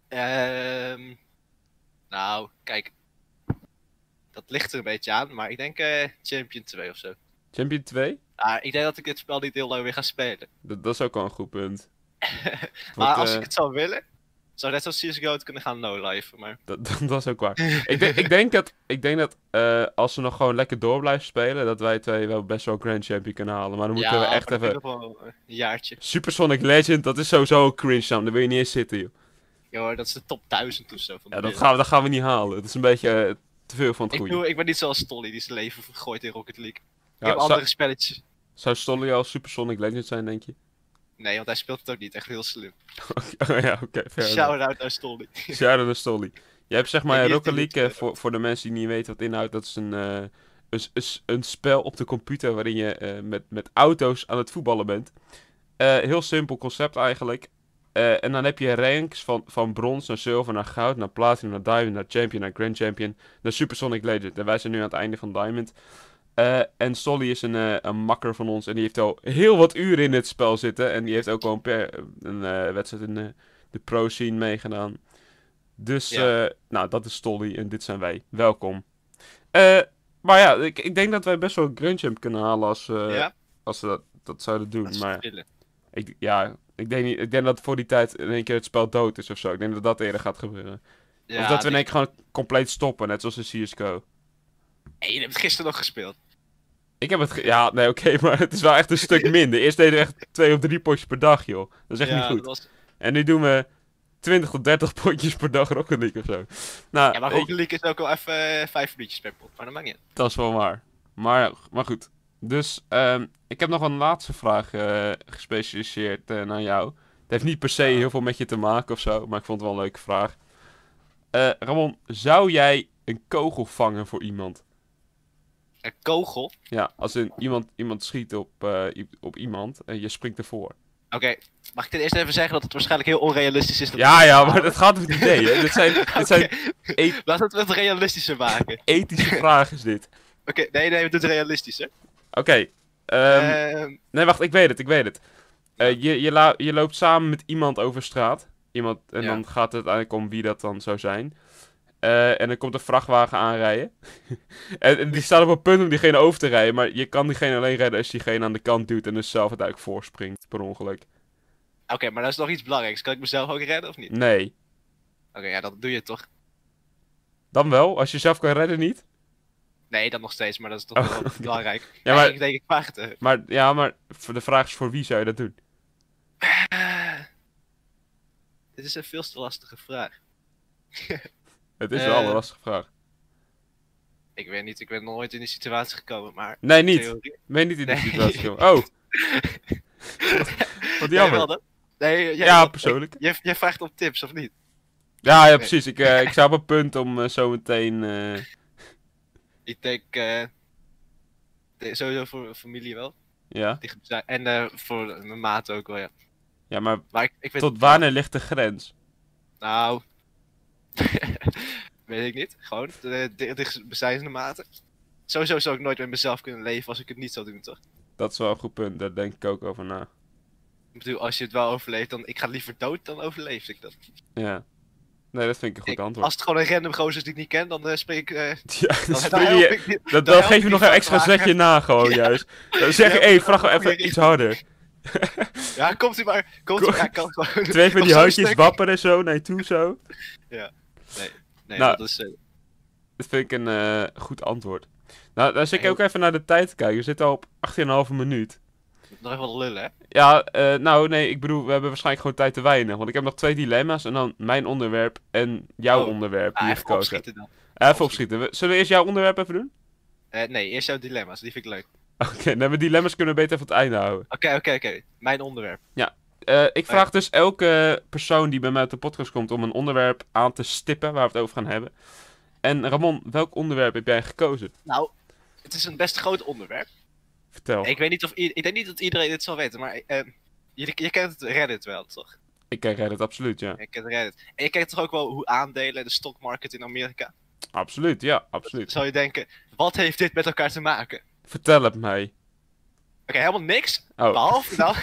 Speaker 2: Ehm, nou, kijk. Dat ligt er een beetje aan, maar ik denk eh, Champion 2 of zo.
Speaker 1: Champion 2?
Speaker 2: Maar ik denk dat ik dit spel niet heel lang weer ga spelen.
Speaker 1: Dat, dat is ook al een goed punt.
Speaker 2: maar
Speaker 1: Want,
Speaker 2: als
Speaker 1: eh,
Speaker 2: ik het zou willen, zou net als CSGO het kunnen gaan no-life. Maar
Speaker 1: Dat, dat, dat is ook waar. ik, denk, ik denk dat, ik denk dat eh, als ze nog gewoon lekker door blijven spelen, dat wij twee wel best wel Grand Champion kunnen halen. Maar dan moeten we
Speaker 2: maar
Speaker 1: echt
Speaker 2: dat
Speaker 1: even...
Speaker 2: duurt nog wel een jaartje.
Speaker 1: Supersonic Legend, dat is sowieso een cringe, Sam. Daar wil je niet eens zitten, joh.
Speaker 2: Ja hoor, dat is de top 1000 of zo. Van de
Speaker 1: Ja, dat
Speaker 2: wereld.
Speaker 1: gaan, we- dat gaan we niet halen. Dat is een beetje eh, te veel van het
Speaker 2: ik,
Speaker 1: goede.
Speaker 2: bedoel, ik ben niet zoals Tolly die zijn leven vergooit in Rocket League. Ik
Speaker 1: Ja,
Speaker 2: heb
Speaker 1: zou,
Speaker 2: andere spelletjes.
Speaker 1: zou Stolly al Supersonic Legend zijn, denk je?
Speaker 2: Nee, want hij speelt het ook niet. Echt heel slim.
Speaker 1: oh, ja, oké. fair enough.
Speaker 2: Shout-out naar Stolly.
Speaker 1: Shout out naar Stolly. Je hebt zeg maar
Speaker 2: die heeft
Speaker 1: Rocket
Speaker 2: die
Speaker 1: League, eh,
Speaker 2: niet, eh,
Speaker 1: voor, voor de mensen die niet weten wat het inhoudt, dat is een, eh, een, s- een s- een spel op de computer waarin je eh, met, met auto's aan het voetballen bent. Eh, heel simpel concept eigenlijk. Eh, en dan heb je ranks van, van brons naar zilver naar goud, naar platinum, naar diamond, naar champion, naar grand champion, naar supersonic legend. En wij zijn nu aan het einde van diamond. Eh, en Solly is een, eh, een makker van ons en die heeft al heel wat uren in het spel zitten. En die heeft ook al een, per, een eh, wedstrijd in eh, de pro scene meegedaan. Dus,
Speaker 2: Ja.
Speaker 1: eh, nou, dat is Stolly en dit zijn wij. Welkom. Eh, maar ja, ik, ik denk dat wij best wel een Grand Champ kunnen halen als, eh,
Speaker 2: ja,
Speaker 1: als ze dat, dat zouden doen.
Speaker 2: dat is
Speaker 1: maar
Speaker 2: willen.
Speaker 1: ik, ja, ik denk, niet, ik denk dat voor die tijd in één keer het spel dood is of zo. Ik denk dat dat eerder gaat gebeuren.
Speaker 2: Ja,
Speaker 1: of dat we in
Speaker 2: nee,
Speaker 1: één keer gewoon compleet stoppen, net zoals in CSGO.
Speaker 2: hey, je hebt het gisteren nog gespeeld.
Speaker 1: Ik heb het... ge- Ja, nee, oké, maar het is wel echt een stuk minder. Eerst deden we echt twee of drie potjes per dag, joh. Dat is echt
Speaker 2: ja,
Speaker 1: niet goed.
Speaker 2: dat was-
Speaker 1: En nu doen we 20 tot 30 potjes per dag Rocket League of zo. Nou,
Speaker 2: Ja, maar
Speaker 1: ik-
Speaker 2: Rocket League is ook al even eh, vijf minuutjes per pot. Maar dat maakt niet uit.
Speaker 1: Dat is wel waar. Maar, maar goed. Dus ehm, ik heb nog een laatste vraag eh, gespecialiseerd eh, naar jou. Het heeft niet per se heel veel met je te maken of zo, maar ik vond het wel een leuke vraag. Eh, Ramon, zou jij een kogel vangen voor iemand?
Speaker 2: Een kogel. Oké,
Speaker 1: Ja, als in iemand, iemand schiet op, eh, i- op iemand en je springt ervoor.
Speaker 2: mag ik ten eerste even zeggen dat het waarschijnlijk heel onrealistisch is? Dat
Speaker 1: Ja, ja, maar dat gaat om het idee. Hè? Dit zijn, dit zijn e-
Speaker 2: Laten we het wat realistischer maken. Oké,
Speaker 1: ethische vragen, is dit.
Speaker 2: nee, nee, we doen het realistischer.
Speaker 1: Oké. ehm,
Speaker 2: Ehm,
Speaker 1: Nee, wacht, ik weet het, ik weet het. Eh, je, je, la- je loopt samen met iemand over straat. Iemand, en
Speaker 2: Ja.
Speaker 1: dan gaat het uiteindelijk om wie dat dan zou zijn. Eh, en dan komt een vrachtwagen aanrijden. en, en die staat op een punt om diegene over te rijden. Maar je kan diegene alleen redden als je diegene aan de kant duwt en dus zelf uiteindelijk voorspringt per ongeluk.
Speaker 2: Oké, maar dat is nog iets belangrijks. Kan ik mezelf ook redden of niet?
Speaker 1: Nee.
Speaker 2: Oké, ja, dat doe je toch?
Speaker 1: Dan wel, als je zelf kan redden niet.
Speaker 2: Nee, dat nog steeds, maar dat is toch
Speaker 1: Oh,
Speaker 2: wel
Speaker 1: oké.
Speaker 2: belangrijk.
Speaker 1: Ja,
Speaker 2: Ja,
Speaker 1: maar-
Speaker 2: Ik denk, ik vraag het even.
Speaker 1: Maar ja, maar voor de vraag is voor wie zou je dat doen?
Speaker 2: Dit is een veel te lastige vraag.
Speaker 1: Het is
Speaker 2: Eh.
Speaker 1: wel een lastige vraag.
Speaker 2: Ik weet niet, ik ben nog nooit in die situatie gekomen, maar...
Speaker 1: Nee, niet.
Speaker 2: Theorie...
Speaker 1: Ben je niet in die
Speaker 2: Nee.
Speaker 1: situatie komen. Oh. Wat
Speaker 2: Jij wel
Speaker 1: jammer.
Speaker 2: dan? Nee, jij,
Speaker 1: Ja,
Speaker 2: wel.
Speaker 1: persoonlijk.
Speaker 2: Jij, jij vraagt om tips, of niet?
Speaker 1: Ja, ja precies. Ik, eh, ik sta op een punt om eh, zo meteen. eh,
Speaker 2: Ik denk... eh, de- sowieso voor mijn familie wel.
Speaker 1: ja.
Speaker 2: Die zijn- En eh, voor mijn maat ook wel, ja.
Speaker 1: ja, maar
Speaker 2: Maar ik, ik weet...
Speaker 1: tot wanneer ligt de grens?
Speaker 2: Nou... weet ik niet. Gewoon, eh, de, de, de bezijdende mate. Sowieso zou ik nooit met mezelf kunnen leven als ik het niet zou doen, toch?
Speaker 1: Dat is wel een goed punt, daar denk ik ook over na.
Speaker 2: Ik bedoel, als je het wel overleeft, dan... Ik ga liever dood dan overleef ik dat.
Speaker 1: Ja. Nee, dat vind ik een
Speaker 2: Ik-
Speaker 1: goed antwoord.
Speaker 2: als het gewoon een random gozer is die ik niet ken, dan eh spreek ik... eh,
Speaker 1: Ja, dan
Speaker 2: dan,
Speaker 1: spring
Speaker 2: help
Speaker 1: je-
Speaker 2: ik niet-
Speaker 1: dat,
Speaker 2: dan
Speaker 1: dat
Speaker 2: help
Speaker 1: geef je
Speaker 2: ik
Speaker 1: nog
Speaker 2: niet
Speaker 1: een extra
Speaker 2: vragen.
Speaker 1: zetje na, gewoon juist. Dan zeg je,
Speaker 2: Ja,
Speaker 1: hé,
Speaker 2: maar
Speaker 1: vraag
Speaker 2: dat
Speaker 1: wel
Speaker 2: is een
Speaker 1: even
Speaker 2: goede
Speaker 1: iets harder.
Speaker 2: Ja, komt u maar. Komt u
Speaker 1: Kom-
Speaker 2: maar. Ja, kan gewoon.
Speaker 1: Twee van
Speaker 2: Nog
Speaker 1: die
Speaker 2: zo'n
Speaker 1: handjes
Speaker 2: stuk.
Speaker 1: wapperen zo naar je toe zo.
Speaker 2: Nee,
Speaker 1: Nou.
Speaker 2: dat is... eh,
Speaker 1: Dat vind ik een eh, goed antwoord. Nou, dan zit ik
Speaker 2: Heel-
Speaker 1: ook even naar de tijd te kijken. We zitten al op 18,5 minuut.
Speaker 2: nog even wat lullen, hè?
Speaker 1: Ja, eh, nou nee, ik bedoel, we hebben waarschijnlijk gewoon tijd te weinig. Want ik heb nog twee dilemma's en dan mijn onderwerp en jouw
Speaker 2: Oh.
Speaker 1: onderwerp die
Speaker 2: Ah,
Speaker 1: je
Speaker 2: even
Speaker 1: gekozen hebt.
Speaker 2: opschieten dan.
Speaker 1: Even opschieten. We- Zullen we eerst jouw onderwerp even doen?
Speaker 2: Eh, nee, eerst jouw dilemma's. Die vind ik leuk.
Speaker 1: Oké, dan hebben we dilemma's kunnen we beter even het einde houden.
Speaker 2: Oké, oké, oké. Mijn onderwerp.
Speaker 1: Eh, ik
Speaker 2: Oh,
Speaker 1: vraag dus elke persoon die bij mij op de podcast komt om een onderwerp aan te stippen waar we het over gaan hebben. En Ramon, welk onderwerp heb jij gekozen?
Speaker 2: Nou, het is een best groot onderwerp.
Speaker 1: Vertel. Ik,
Speaker 2: Ik weet niet of... i- Ik denk niet dat iedereen dit zal weten, maar... eh, je, je kent het Reddit wel, toch?
Speaker 1: ken Reddit, absoluut, ja.
Speaker 2: Je kent Reddit. En je kent toch ook wel hoe aandelen, de stockmarket in Amerika...
Speaker 1: Absoluut, ja, absoluut.
Speaker 2: Zou je denken, wat heeft dit met elkaar te maken? Oké,
Speaker 1: Vertel het mij.
Speaker 2: helemaal niks.
Speaker 1: Oh,
Speaker 2: Behalve nou,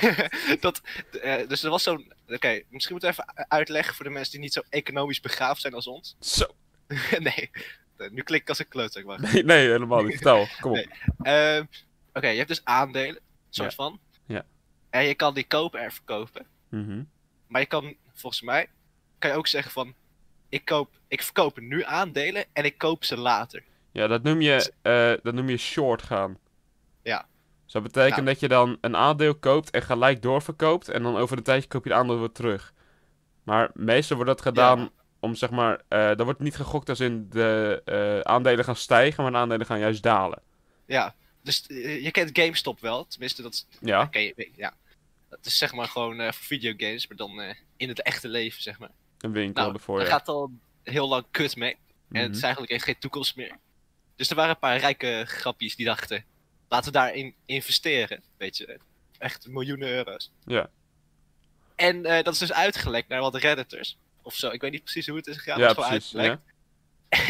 Speaker 2: dat, eh, dus er was zo'n Oké, misschien moet ik even uitleggen voor de mensen die niet zo economisch begaafd zijn als ons.
Speaker 1: Zo.
Speaker 2: nee, eh, nu klink ik als een kleuter, ik wacht.
Speaker 1: Nee, nee, helemaal niet. Vertel, kom op.
Speaker 2: Nee. Ehm, Oké, je hebt dus aandelen, soort
Speaker 1: Ja.
Speaker 2: van.
Speaker 1: Ja.
Speaker 2: En je kan die kopen en verkopen.
Speaker 1: Mhm.
Speaker 2: Maar je kan, volgens mij, kan je ook zeggen van... Ik, koop, ik verkoop nu aandelen en ik koop ze later.
Speaker 1: Ja, dat noem je, eh, dat noem je short gaan.
Speaker 2: Ja.
Speaker 1: Dus dat betekent
Speaker 2: Nou.
Speaker 1: dat je dan een aandeel koopt en gelijk doorverkoopt. En dan over een tijdje koop je het aandeel weer terug. Maar meestal wordt dat gedaan om zeg maar. eh dan wordt niet gegokt als in de eh, aandelen gaan stijgen, maar de aandelen gaan juist dalen.
Speaker 2: Ja, dus eh, je kent GameStop wel. Tenminste, dat is...
Speaker 1: Ja.
Speaker 2: Oké, ja. Dat is zeg maar gewoon eh, voor videogames, maar dan eh, in het echte leven, zeg maar.
Speaker 1: Een winkel
Speaker 2: Nou,
Speaker 1: ervoor.
Speaker 2: Daar
Speaker 1: Ja.
Speaker 2: gaat al heel lang kut mee. En het
Speaker 1: Mhm.
Speaker 2: is eigenlijk heeft geen toekomst meer. Dus er waren een paar rijke grappies die dachten, laten we daarin investeren. Weet je, echt miljoenen euro's.
Speaker 1: Ja.
Speaker 2: En eh, dat is dus uitgelekt naar wat redditors. Of zo, ik weet niet precies hoe het is gegaan,
Speaker 1: ja,
Speaker 2: maar het is gewoon
Speaker 1: precies. Ja.
Speaker 2: uitgelekt.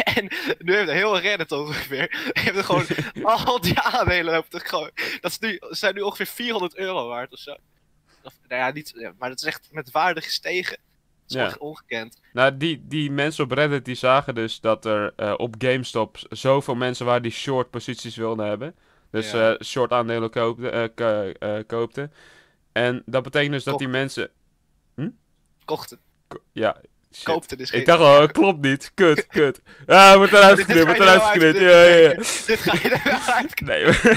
Speaker 2: En nu heeft de hele reddit ongeveer, heeft er gewoon al die aandelen lopen te gooien. Dat is nu, zijn nu ongeveer 400 euro waard of zo. Of, nou ja, niet, ja, maar dat is echt met waarde gestegen. Dat is
Speaker 1: Ja.
Speaker 2: echt ongekend.
Speaker 1: Nou, die, die mensen op Reddit die zagen dus dat er eh, op GameStop z- zoveel mensen waren die short posities wilden hebben. Dus
Speaker 2: Ja.
Speaker 1: eh, short aandelen koopten. eh, ko- eh, koopten. En dat betekent dus dat die mensen...
Speaker 2: Kochten,
Speaker 1: ko- Ja, shit.
Speaker 2: koopten dus geen-
Speaker 1: Ik dacht al, het klopt niet. Kut, kut. Ah, wordt eruit
Speaker 2: Dit
Speaker 1: geknipt,
Speaker 2: ga
Speaker 1: wordt
Speaker 2: je
Speaker 1: eruit
Speaker 2: nou
Speaker 1: geknipt. Ja,
Speaker 2: uitknippen,
Speaker 1: ja, ja.
Speaker 2: Dit ga je eruit.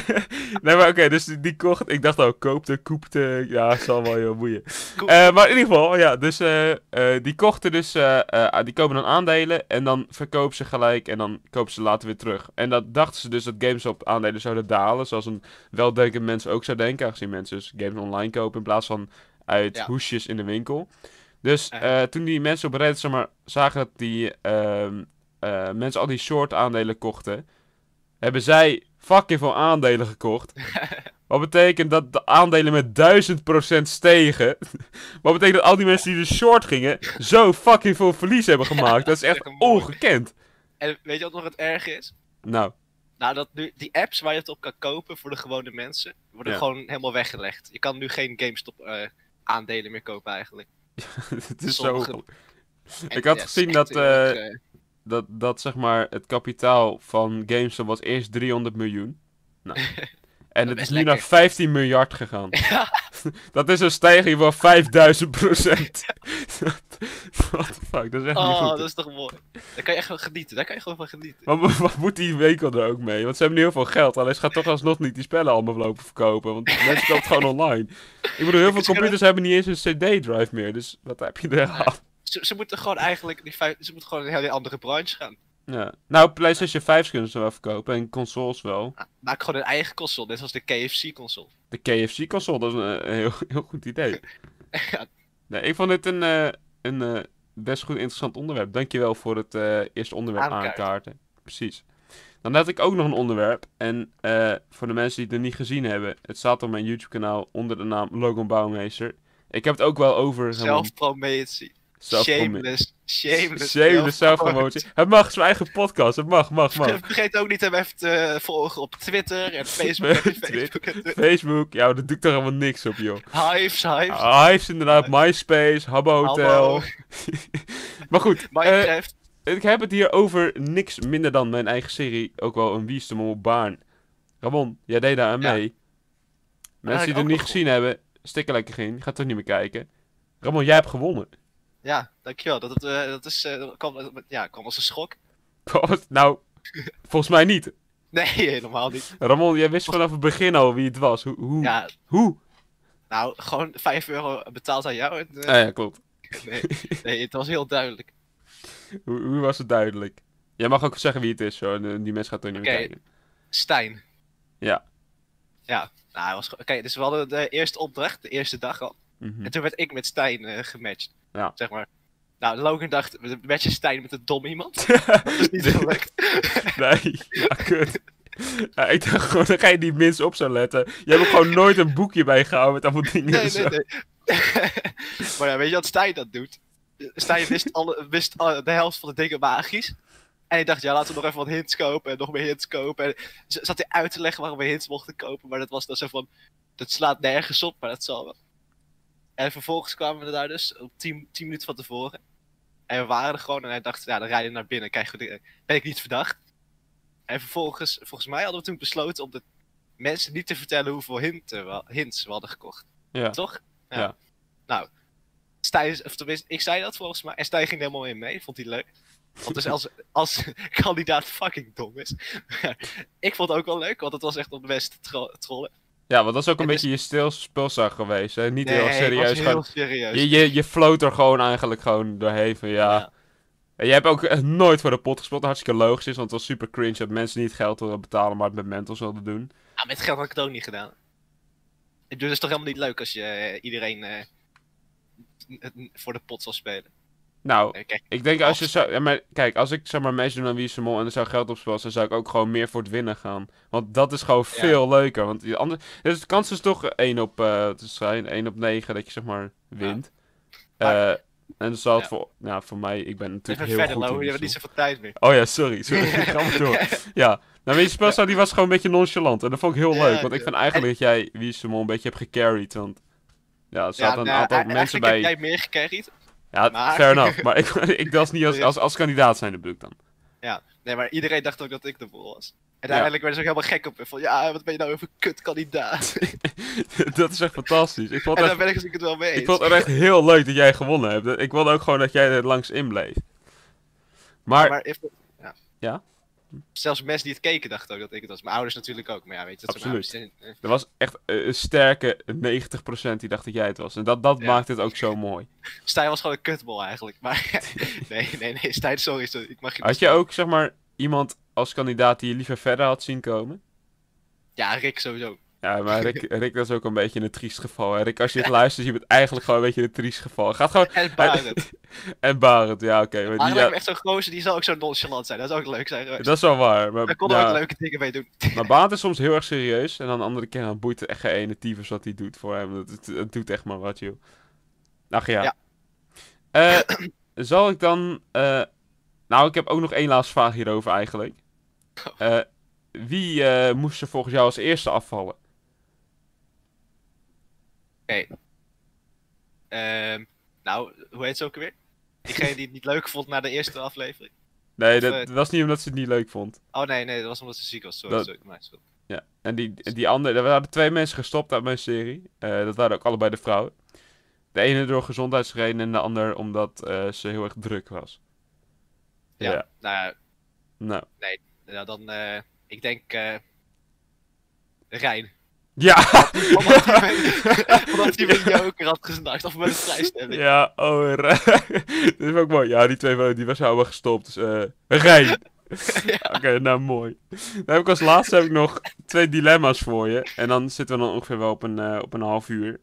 Speaker 1: Nee, nee maar oké, dus die, die kocht... Ik dacht al, koopte, koepte... Ja, zal wel, joh, boeien.
Speaker 2: Koep-
Speaker 1: Eh, maar in ieder geval, ja, dus eh, eh, die kochten dus, eh, eh, die kopen dan aandelen en dan verkopen ze gelijk en dan kopen ze later weer terug. En dat dachten ze dus dat GameStop aandelen zouden dalen, zoals een weldenkend mens ook zou denken, aangezien mensen dus games online kopen in plaats van uit
Speaker 2: Ja.
Speaker 1: hoesjes in de winkel. Dus
Speaker 2: Ja.
Speaker 1: eh, toen die mensen op Reddit zeg maar, zagen dat die ehm, eh, mensen al die short aandelen kochten, hebben zij fucking veel aandelen gekocht. Wat betekent dat de aandelen met 1000% stegen. Wat betekent dat al die mensen die dus short gingen, zo fucking veel verlies hebben gemaakt. Dat is echt
Speaker 2: echt mooi.
Speaker 1: ongekend.
Speaker 2: En weet je wat nog het erg is?
Speaker 1: Nou,
Speaker 2: Nou, dat nu, die apps waar je het op kan kopen voor de gewone mensen, worden
Speaker 1: Ja.
Speaker 2: gewoon helemaal weggelegd. Je kan nu geen GameStop eh, aandelen meer kopen eigenlijk.
Speaker 1: het is zo...
Speaker 2: Sommige-
Speaker 1: ongelooflijk.
Speaker 2: En
Speaker 1: Ik had
Speaker 2: ja, het is
Speaker 1: gezien
Speaker 2: echt
Speaker 1: dat,
Speaker 2: heel erg,
Speaker 1: eh,
Speaker 2: eh,
Speaker 1: Dat, dat zeg maar, het kapitaal van GameStop was eerst 300 miljoen. Nou. En het
Speaker 2: best
Speaker 1: is nu
Speaker 2: lekker.
Speaker 1: naar 15 miljard gegaan. Dat is een stijging van 5000 procent. What the fuck, dat is echt niet
Speaker 2: oh,
Speaker 1: goed.
Speaker 2: dat is toch mooi. Daar kan je echt van genieten. Daar kan je gewoon van genieten.
Speaker 1: Maar wat, wat moet die winkel er ook mee? Want ze hebben nu heel veel geld. Alleen ze gaan toch alsnog niet die spellen allemaal lopen verkopen. Want mensen kopen het gewoon online. Ik bedoel, heel veel
Speaker 2: Ze
Speaker 1: computers hebben niet eens een CD-drive meer. Dus wat heb je er aan?
Speaker 2: Ze, ze moeten gewoon eigenlijk, die, vijf- ze moeten gewoon een hele andere branche gaan.
Speaker 1: Ja. Nou, PlayStation 5 kunnen ze wel verkopen. En consoles wel.
Speaker 2: Ah, Maak gewoon een eigen console, net zoals de KFC-console.
Speaker 1: De KFC-console, dat is een, een heel, heel goed idee.
Speaker 2: Ja.
Speaker 1: Nee, ik vond dit een, eh, een eh, best goed interessant onderwerp. Dankjewel voor het eh, eerste onderwerp
Speaker 2: Aankaarten.
Speaker 1: aankaarten. Precies. Dan had ik ook nog een onderwerp. En eh, voor de mensen die het nog niet gezien hebben, het staat op mijn YouTube-kanaal onder de naam Logan Bouwmeester. Ik heb het ook wel over helemaal
Speaker 2: Zelfpromotie.
Speaker 1: zelfpromotie.
Speaker 2: Shameless. Shameless.
Speaker 1: Shameless zelfpromotie. Het mag, zijn eigen podcast. Het mag, mag, mag.
Speaker 2: Vergeet ook niet hem even te volgen op Twitter en Facebook. en Facebook en Twitter.
Speaker 1: Facebook, ja, dat doe ik toch helemaal niks op, joh.
Speaker 2: Hives, Hives,
Speaker 1: Ah, Hives inderdaad, MySpace, Habbo Hotel.
Speaker 2: Habbo.
Speaker 1: maar goed, eh,
Speaker 2: Minecraft.
Speaker 1: ik heb het hier over niks minder dan mijn eigen serie. Ook wel een Wie is de Mol Baan. Ramon, jij deed daar aan
Speaker 2: Ja.
Speaker 1: mee. Mensen die
Speaker 2: ik
Speaker 1: het
Speaker 2: ook
Speaker 1: niet
Speaker 2: nog
Speaker 1: gezien hebben, stikken lekker in. Ga toch niet meer kijken. Ramon, jij hebt gewonnen.
Speaker 2: ja, dankjewel. Dat, eh, dat is, eh, dat kwam, eh, ja, kwam als een schok.
Speaker 1: nou, volgens mij niet.
Speaker 2: Nee, helemaal niet.
Speaker 1: Ramon, jij wist vanaf het begin al wie het was. Hoe? Hoe?
Speaker 2: Ja,
Speaker 1: Hoe?
Speaker 2: nou, gewoon 5 euro betaald aan jou. En, eh,
Speaker 1: Ah ja, klopt.
Speaker 2: nee, nee, het was heel duidelijk.
Speaker 1: Hoe, hoe was het duidelijk? Jij mag ook zeggen wie het is, hoor. En eh, Die mensen gaat toch niet meer
Speaker 2: Oké.
Speaker 1: kijken.
Speaker 2: Stijn.
Speaker 1: Ja.
Speaker 2: Ja, nou, hij was gewoon... Oké, dus we hadden de eerste opdracht, de eerste dag al.
Speaker 1: Mhm.
Speaker 2: En toen werd ik met Stijn eh, gematcht.
Speaker 1: Ja.
Speaker 2: Zeg maar. Nou, Logan dacht, we matchen Stijn met een dom iemand. Dat is niet gelukt.
Speaker 1: Nee, ja, kut. Ja, ik dacht gewoon dat jij die minst op zou letten. Je hebt ook gewoon nooit een boekje bijgehouden met allemaal dingen. en
Speaker 2: Nee,
Speaker 1: zo.
Speaker 2: nee, nee. maar ja, weet je wat Stijn dat doet? Stijn wist, alle, wist alle- de helft van de dingen magisch. En ik dacht, ja, laten we nog even wat hints kopen en nog meer hints kopen. En z- zat hij uit te leggen waarom we hints mochten kopen, maar dat was dan zo van, dat slaat nergens op, maar dat zal wel. En vervolgens kwamen we daar dus op 10 10 minuten van tevoren. En we waren er gewoon en hij dacht, ja, dan rijden we naar binnen. Krijgen we de- ben ik niet verdacht. En vervolgens, volgens mij hadden we toen besloten om de mensen niet te vertellen hoeveel hinten we- hints we hadden gekocht.
Speaker 1: Ja.
Speaker 2: Toch?
Speaker 1: Ja.
Speaker 2: Nou, Stijn, of tenminste, ik zei dat volgens mij. En Stijn ging er helemaal in mee, vond hij leuk. Want dus als, als kandidaat fucking dom is. ik vond het ook wel leuk, want het was echt op de beste tro- trollen.
Speaker 1: Ja, want dat is ook een
Speaker 2: Het is-
Speaker 1: beetje je stil spulzak geweest, hè? Niet heel
Speaker 2: dus Nee, ik was
Speaker 1: serieus.
Speaker 2: heel
Speaker 1: gewoon-
Speaker 2: serieus.
Speaker 1: Je, je, je floot er gewoon eigenlijk gewoon doorheen van, ja.
Speaker 2: Ja.
Speaker 1: En je hebt ook echt nooit voor de pot gespot, wat hartstikke logisch is, want het was super cringe dat mensen niet geld wilden betalen, maar het met mentals wilden doen.
Speaker 2: Ah, met geld had ik het ook niet gedaan. Ik bedoel, het is toch helemaal niet leuk als je eh, iedereen eh, n- n- voor de pot zal spelen.
Speaker 1: Nou,
Speaker 2: Nee, kijk,
Speaker 1: Ik denk als je zou. Ja, maar kijk, als ik zeg maar meedoen aan Wie is de Mol en er zou geld op spelen, dan zou ik ook gewoon meer voor het winnen gaan. Want dat is gewoon veel leuker. Want die andere, dus de kans is toch 1 op eh te zijn, 1 op 9 dat je zeg maar wint.
Speaker 2: Maar-
Speaker 1: Eh, en dat zal het
Speaker 2: Ja.
Speaker 1: voor. Nou, voor mij, ik ben
Speaker 2: even
Speaker 1: natuurlijk heel
Speaker 2: verder,
Speaker 1: goed in
Speaker 2: Lo, je
Speaker 1: die
Speaker 2: hebt niet
Speaker 1: spel.
Speaker 2: zoveel tijd meer.
Speaker 1: Oh ja, sorry. sorry ik ga maar door. Ja. Nou, Wie is de Mol, die was gewoon een beetje nonchalant. En dat vond ik heel
Speaker 2: Ja,
Speaker 1: leuk. Want ik
Speaker 2: ja.
Speaker 1: vind eigenlijk dat jij Wie is de Mol een beetje hebt gecarried. Want ja, er zaten
Speaker 2: nou,
Speaker 1: een aantal
Speaker 2: eigenlijk
Speaker 1: mensen bij.
Speaker 2: heb jij meer gecarried.
Speaker 1: Ja,
Speaker 2: Maar-
Speaker 1: fair enough. Maar ik, ik was niet als, als, als kandidaat zijn, bedoel ik dan.
Speaker 2: Ja, nee, maar iedereen dacht ook dat ik de bol was. En
Speaker 1: Ja.
Speaker 2: uiteindelijk werden ze ook helemaal gek op me. Van, ja, wat ben je nou even een kutkandidaat?
Speaker 1: dat is echt fantastisch. Ik vond,
Speaker 2: en
Speaker 1: het
Speaker 2: daar
Speaker 1: echt,
Speaker 2: ben ik het natuurlijk wel mee eens.
Speaker 1: ik vond het echt heel leuk dat jij gewonnen hebt. Ik wilde ook gewoon dat jij er langs in bleef. Maar,
Speaker 2: Maar even- ja.
Speaker 1: Ja?
Speaker 2: Zelfs mensen die het keken dachten ook dat ik het was. Mijn ouders natuurlijk ook. Maar ja, weet je, dat is
Speaker 1: Absoluut. er was echt eh, een sterke 90% die dacht dat jij het was. En dat, dat
Speaker 2: Ja.
Speaker 1: maakt het ook zo mooi.
Speaker 2: Stijn was gewoon een kutbol eigenlijk. Maar nee, nee, nee, Stijn, sorry. sorry, ik mag je
Speaker 1: Had je ook, zeg maar, iemand als kandidaat die je liever verder had zien komen?
Speaker 2: Ja, Rick sowieso.
Speaker 1: Ja, maar Rick, Rick dat is ook een beetje een triest geval. Hè? Rick, als je het luistert, je bent eigenlijk gewoon een beetje een triest geval. Gaat gewoon...
Speaker 2: En Barend.
Speaker 1: En Barend, ja, oké. maar die- ja,
Speaker 2: Barend lijkt me Ah, echt zo'n gozer, die zal ook zo nonchalant zijn. Dat zou ook leuk zijn geweest.
Speaker 1: dat is wel waar. Maar,
Speaker 2: Daar konden
Speaker 1: ja.
Speaker 2: we ook leuke dingen mee doen.
Speaker 1: Maar Baat is soms heel erg serieus. En aan de andere kant dan boeit het echt geen ene tyfus wat hij doet voor hem. Het, het, het doet echt maar wat, joh. Ach ja.
Speaker 2: Ja.
Speaker 1: Eh, zal ik dan... eh, nou, ik heb ook nog één laatste vraag hierover eigenlijk. Eh, wie eh, moest er volgens jou als eerste afvallen?
Speaker 2: Ehm, nou, hoe heet ze ook alweer? Diegene die het niet leuk vond na de eerste aflevering.
Speaker 1: Nee,
Speaker 2: Eh.
Speaker 1: dat was niet omdat ze het niet leuk vond.
Speaker 2: Oh nee, nee, dat was omdat ze ziek was. Sorry,
Speaker 1: Dat-
Speaker 2: sorry. Mijn schuld.
Speaker 1: Ja. En die, die andere... Er waren twee mensen gestopt uit mijn serie. Eh, dat waren ook allebei de vrouwen. De ene door gezondheidsredenen en de ander omdat eh, ze heel erg druk was.
Speaker 2: Ja.
Speaker 1: Ja.
Speaker 2: Nou ja,
Speaker 1: Nou...
Speaker 2: nou dan, eh, ik denk... eh, Rijn.
Speaker 1: Ja!
Speaker 2: Omdat hij me- omdat hij me joker had gesnaakt. Of met een vrijstelling.
Speaker 1: Ja, oh, Rijn. Dit is ook mooi. Ja, die twee van- die was nou wel gestopt. Dus, eh, Rijn. Oké, nou mooi. Dan heb ik als laatste heb ik nog twee dilemma's voor je. En dan zitten we dan ongeveer wel op een, eh, op een half uur.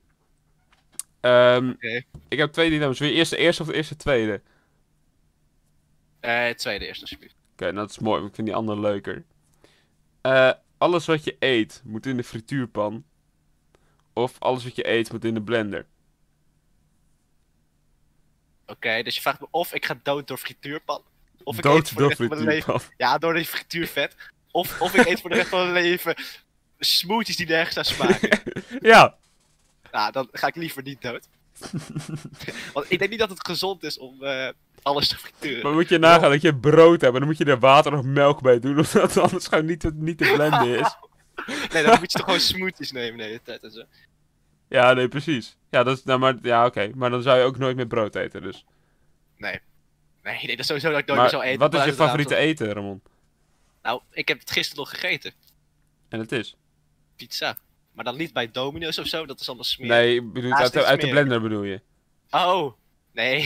Speaker 1: Ehm,
Speaker 2: Oké.
Speaker 1: Ik heb twee dilemma's. Wil je eerst de eerste of de eerste tweede? Oké,
Speaker 2: Eh, tweede eerst, alsjeblieft.
Speaker 1: nou, dat is mooi. want Ik vind die andere leuker. Eh, alles wat je eet moet in de frituurpan. Of alles wat je eet moet in de blender.
Speaker 2: Oké, dus je vraagt me of ik ga dood door frituurpan. Of ik eet
Speaker 1: Dood
Speaker 2: voor de
Speaker 1: door
Speaker 2: rest van mijn leven.
Speaker 1: frituurpan.
Speaker 2: Ja, door die frituurvet. Of, of ik eet voor de rest van mijn leven smoothies die nergens naar smaken.
Speaker 1: Ja,
Speaker 2: nou, dan ga ik liever niet dood. Want ik denk niet dat het gezond is om eh, alles te frituren.
Speaker 1: Maar moet je nagaan dat je brood hebt en dan moet je er water of melk bij doen, omdat het anders gewoon niet te, niet te blenden is.
Speaker 2: Nee, dan moet je toch gewoon smoothies nemen de hele tijd en zo.
Speaker 1: Ja, nee, precies. Ja, dat is, nou, maar, ja oké. Maar dan zou je ook nooit meer brood eten, dus.
Speaker 2: Nee. Nee, nee, dat is sowieso dat ik nooit
Speaker 1: Maar
Speaker 2: meer zou eten.
Speaker 1: wat is
Speaker 2: maar
Speaker 1: je
Speaker 2: inderdaad,
Speaker 1: favoriete e- eten, Ramon?
Speaker 2: Nou, ik heb het gisteren nog gegeten.
Speaker 1: En het is?
Speaker 2: Pizza. Maar dan niet bij Domino's of zo, dat is allemaal smerig.
Speaker 1: Nee, ik bedoel,
Speaker 2: Naast
Speaker 1: uit, de,
Speaker 2: iets
Speaker 1: uit de
Speaker 2: meer.
Speaker 1: blender bedoel je.
Speaker 2: Oh! Nee.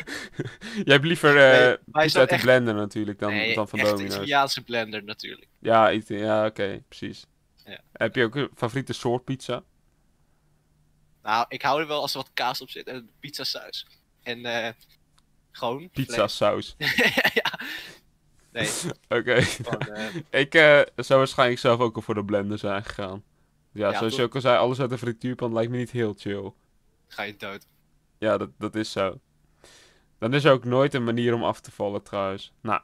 Speaker 1: Jij hebt liever eh,
Speaker 2: Nee, maar is
Speaker 1: pizza
Speaker 2: dat
Speaker 1: uit de
Speaker 2: echt-
Speaker 1: blender natuurlijk dan,
Speaker 2: nee,
Speaker 1: dan van
Speaker 2: echt
Speaker 1: Domino's.
Speaker 2: Italiaanse blender natuurlijk.
Speaker 1: Ja, Ita- ja oké, precies.
Speaker 2: Ja.
Speaker 1: Heb je ook een favoriete soort pizza?
Speaker 2: Nou, ik hou er wel als er wat kaas op zit en pizzasaus. En eh gewoon.
Speaker 1: Pizza saus.
Speaker 2: vlees. ja. Nee,
Speaker 1: Oké.
Speaker 2: gewoon, eh,
Speaker 1: Ik eh, zou waarschijnlijk zelf ook al voor de blender zijn gegaan. Ja,
Speaker 2: Ja,
Speaker 1: zoals je
Speaker 2: toch?
Speaker 1: ook al zei, alles uit de frituurpan lijkt me niet heel chill.
Speaker 2: ga je dood.
Speaker 1: Ja, dat, dat is zo. Dan is er ook nooit een manier om af te vallen trouwens. Nou,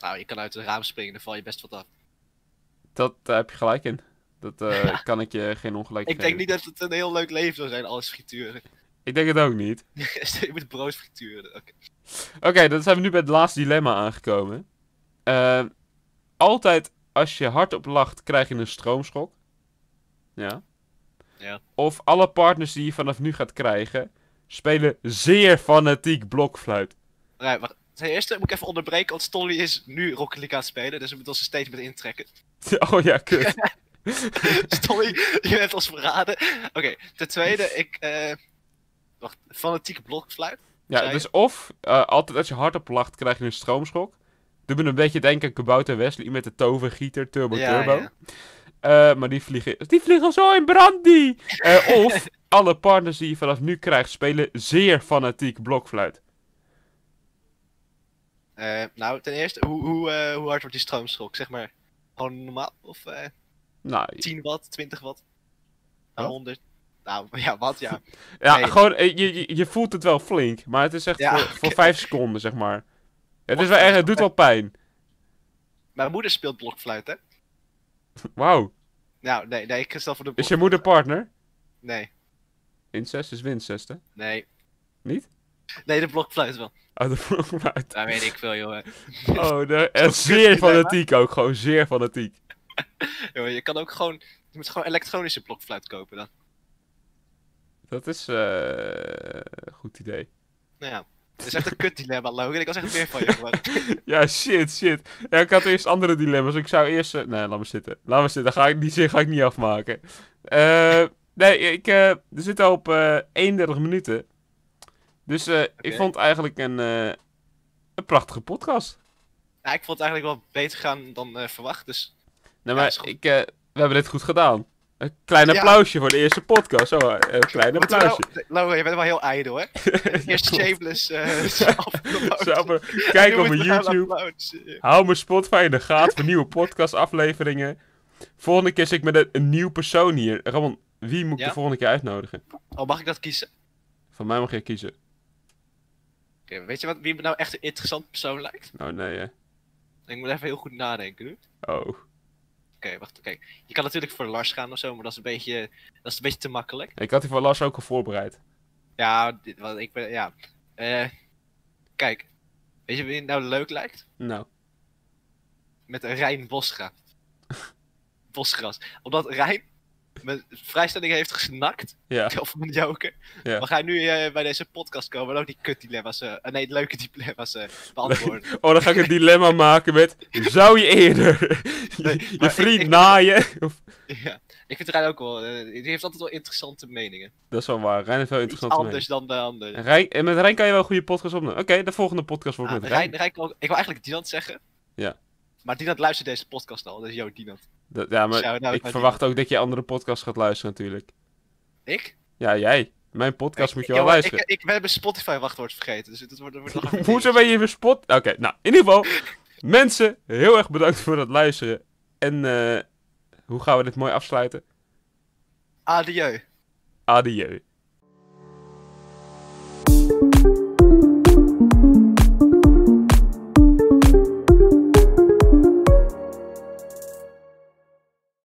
Speaker 2: Nou, je kan uit het raam springen, dan val je best wat af.
Speaker 1: dat, daar heb je gelijk in. Dat eh, kan ik je geen ongelijk
Speaker 2: Ik
Speaker 1: geven.
Speaker 2: denk niet dat het een heel leuk leven zou zijn, alles frituren.
Speaker 1: Ik denk het ook niet.
Speaker 2: je moet brood frituren. oké.
Speaker 1: Oké, dan zijn we nu bij het laatste dilemma aangekomen. Eh, altijd als je hardop lacht, krijg je een stroomschok. Ja.
Speaker 2: Ja.
Speaker 1: Of alle partners die je vanaf nu gaat krijgen, spelen zeer fanatiek blokfluit.
Speaker 2: Right, wacht. Ten eerste moet ik even onderbreken, want Stolly is nu Rocket League aan het spelen, dus we moeten ons steeds met intrekken.
Speaker 1: Oh ja, kut.
Speaker 2: Stolly, je bent ons verraden. Oké, ten tweede, ik. eh wacht, fanatiek blokfluit. Zei
Speaker 1: Ja,
Speaker 2: je?
Speaker 1: dus of eh, altijd als je hardop lacht, krijg je een stroomschok. Doe me een beetje denken aan Kabouter Wesley met de tovergieter Turbo
Speaker 2: Ja,
Speaker 1: Turbo.
Speaker 2: ja.
Speaker 1: Eh, maar die vliegen, die vliegen zo in brand, die! Eh, of alle partners die je vanaf nu krijgt spelen zeer fanatiek blokfluit.
Speaker 2: Eh, nou, ten eerste, hoe, hoe, eh, hoe hard wordt die stroomschok? Zeg maar gewoon normaal? Of eh,
Speaker 1: Nou,
Speaker 2: 10 watt, 20 watt?
Speaker 1: Wat?
Speaker 2: 100? Nou ja, wat ja.
Speaker 1: ja,
Speaker 2: nee.
Speaker 1: gewoon, eh, je, je, je voelt het wel flink, maar het is echt
Speaker 2: Ja,
Speaker 1: voor, voor
Speaker 2: oké.
Speaker 1: vijf seconden, zeg maar. Het, is wel echt, het doet wel pijn.
Speaker 2: Mijn moeder speelt blokfluit, hè?
Speaker 1: Wauw.
Speaker 2: Nou, nee, nee, ik stel voor de
Speaker 1: Is je moeder partner?
Speaker 2: Nee,
Speaker 1: Incest is wincest, hè?
Speaker 2: nee.
Speaker 1: Niet?
Speaker 2: Nee, de blokfluit wel.
Speaker 1: Oh, de blokfluit.
Speaker 2: Daar weet ik veel, joh.
Speaker 1: Oh, de, en zeer
Speaker 2: dilemma.
Speaker 1: fanatiek ook. Gewoon zeer fanatiek.
Speaker 2: joh. Je kan ook gewoon... Je moet gewoon elektronische blokfluit kopen dan.
Speaker 1: Dat is eh goed idee.
Speaker 2: Nou ja. Het is echt een kut dilemma, Logan. Ik was echt meer van je gewoon.
Speaker 1: Ja, shit, shit. Ja, ik had eerst andere dilemma's. Ik zou eerst... eh, Nee, laat me zitten. Laat me zitten. Ga ik, die zin ga ik niet afmaken. Eh, nee, ik, eh er zitten al op eh 31 minuten. Dus eh, ik
Speaker 2: Oké.
Speaker 1: vond eigenlijk een, eh, een prachtige podcast.
Speaker 2: Ja, ik vond het eigenlijk wel beter gaan dan eh, verwacht, dus...
Speaker 1: Nee,
Speaker 2: Ja,
Speaker 1: maar
Speaker 2: is goed.
Speaker 1: ik, eh, we hebben dit goed gedaan. Een klein
Speaker 2: Ja.
Speaker 1: applausje voor de eerste podcast. Zo, eh, een klein
Speaker 2: Moeten we nou-
Speaker 1: applausje.
Speaker 2: Logan, je bent wel heel ijdel, hè? Eerst
Speaker 1: klopt.
Speaker 2: shameless eh self-promotion.
Speaker 1: Zo, maar
Speaker 2: En
Speaker 1: Kijk
Speaker 2: nu
Speaker 1: op mijn
Speaker 2: moeten we gaan
Speaker 1: YouTube.
Speaker 2: applaudisseren.
Speaker 1: Hou mijn Spotify in de gaten voor nieuwe podcastafleveringen. Volgende keer zit ik met een, een nieuw persoon hier. Ramon, wie moet ik
Speaker 2: Ja?
Speaker 1: de volgende keer uitnodigen?
Speaker 2: Oh, mag ik dat kiezen?
Speaker 1: Van mij mag jij kiezen.
Speaker 2: Oké, weet je wat, wie me nou echt een interessant persoon lijkt?
Speaker 1: Oh nee, hè.
Speaker 2: Ik moet even heel goed nadenken nu. Oké,
Speaker 1: Oh.
Speaker 2: wacht, oké. Je kan natuurlijk voor Lars gaan of zo, maar dat is een beetje, dat is een beetje te makkelijk.
Speaker 1: Ik had die voor Lars ook al voorbereid.
Speaker 2: Ja, dit, want ik ben, ja. Eh, kijk, weet je wie het nou leuk lijkt?
Speaker 1: Nou.
Speaker 2: Met Rijn Bosga. Bosgras. Omdat Rijn mijn vrijstelling heeft gesnakt,
Speaker 1: Ja.
Speaker 2: of een joker.
Speaker 1: Ja.
Speaker 2: We gaan nu eh, bij deze podcast komen en ook die kut dilemma's, eh nee, leuke dilemma's eh, beantwoorden.
Speaker 1: Oh, dan ga ik een dilemma maken met... Zou je eerder
Speaker 2: Nee,
Speaker 1: je, je
Speaker 2: maar
Speaker 1: vriend
Speaker 2: ik- ik-
Speaker 1: naaien? Of...
Speaker 2: Ja, ik vind Rijn ook wel. eh, die heeft altijd wel interessante meningen.
Speaker 1: Dat is wel waar. Rijn heeft wel
Speaker 2: Iets
Speaker 1: interessant
Speaker 2: anders dan de anderen.
Speaker 1: Rijn, en met Rijn kan je wel een goede podcast opnemen. Oké, de volgende podcast wordt
Speaker 2: Ah,
Speaker 1: met
Speaker 2: Rijn,
Speaker 1: Rijn.
Speaker 2: Rijn kan ook- ik wil eigenlijk Dinant zeggen.
Speaker 1: Ja.
Speaker 2: Maar Dinant luistert deze podcast al, dus yo Dinant. nou
Speaker 1: Dat- ja, maar
Speaker 2: Shout-out naar
Speaker 1: ik
Speaker 2: Dinant.
Speaker 1: verwacht ook dat je andere podcasts gaat luisteren natuurlijk.
Speaker 2: Ik?
Speaker 1: Ja, jij. Mijn podcast moet je wel
Speaker 2: Jongen,
Speaker 1: luisteren.
Speaker 2: Ik, ik, we hebben Spotify wachtwoord vergeten, dus het wordt, het wordt nog een
Speaker 1: Hoezo
Speaker 2: dingetje.
Speaker 1: ben je weer spot? Oké, nou, in ieder geval. mensen, heel erg bedankt voor het luisteren. En eh, hoe gaan we dit mooi afsluiten?
Speaker 2: Adieu.
Speaker 1: Adieu.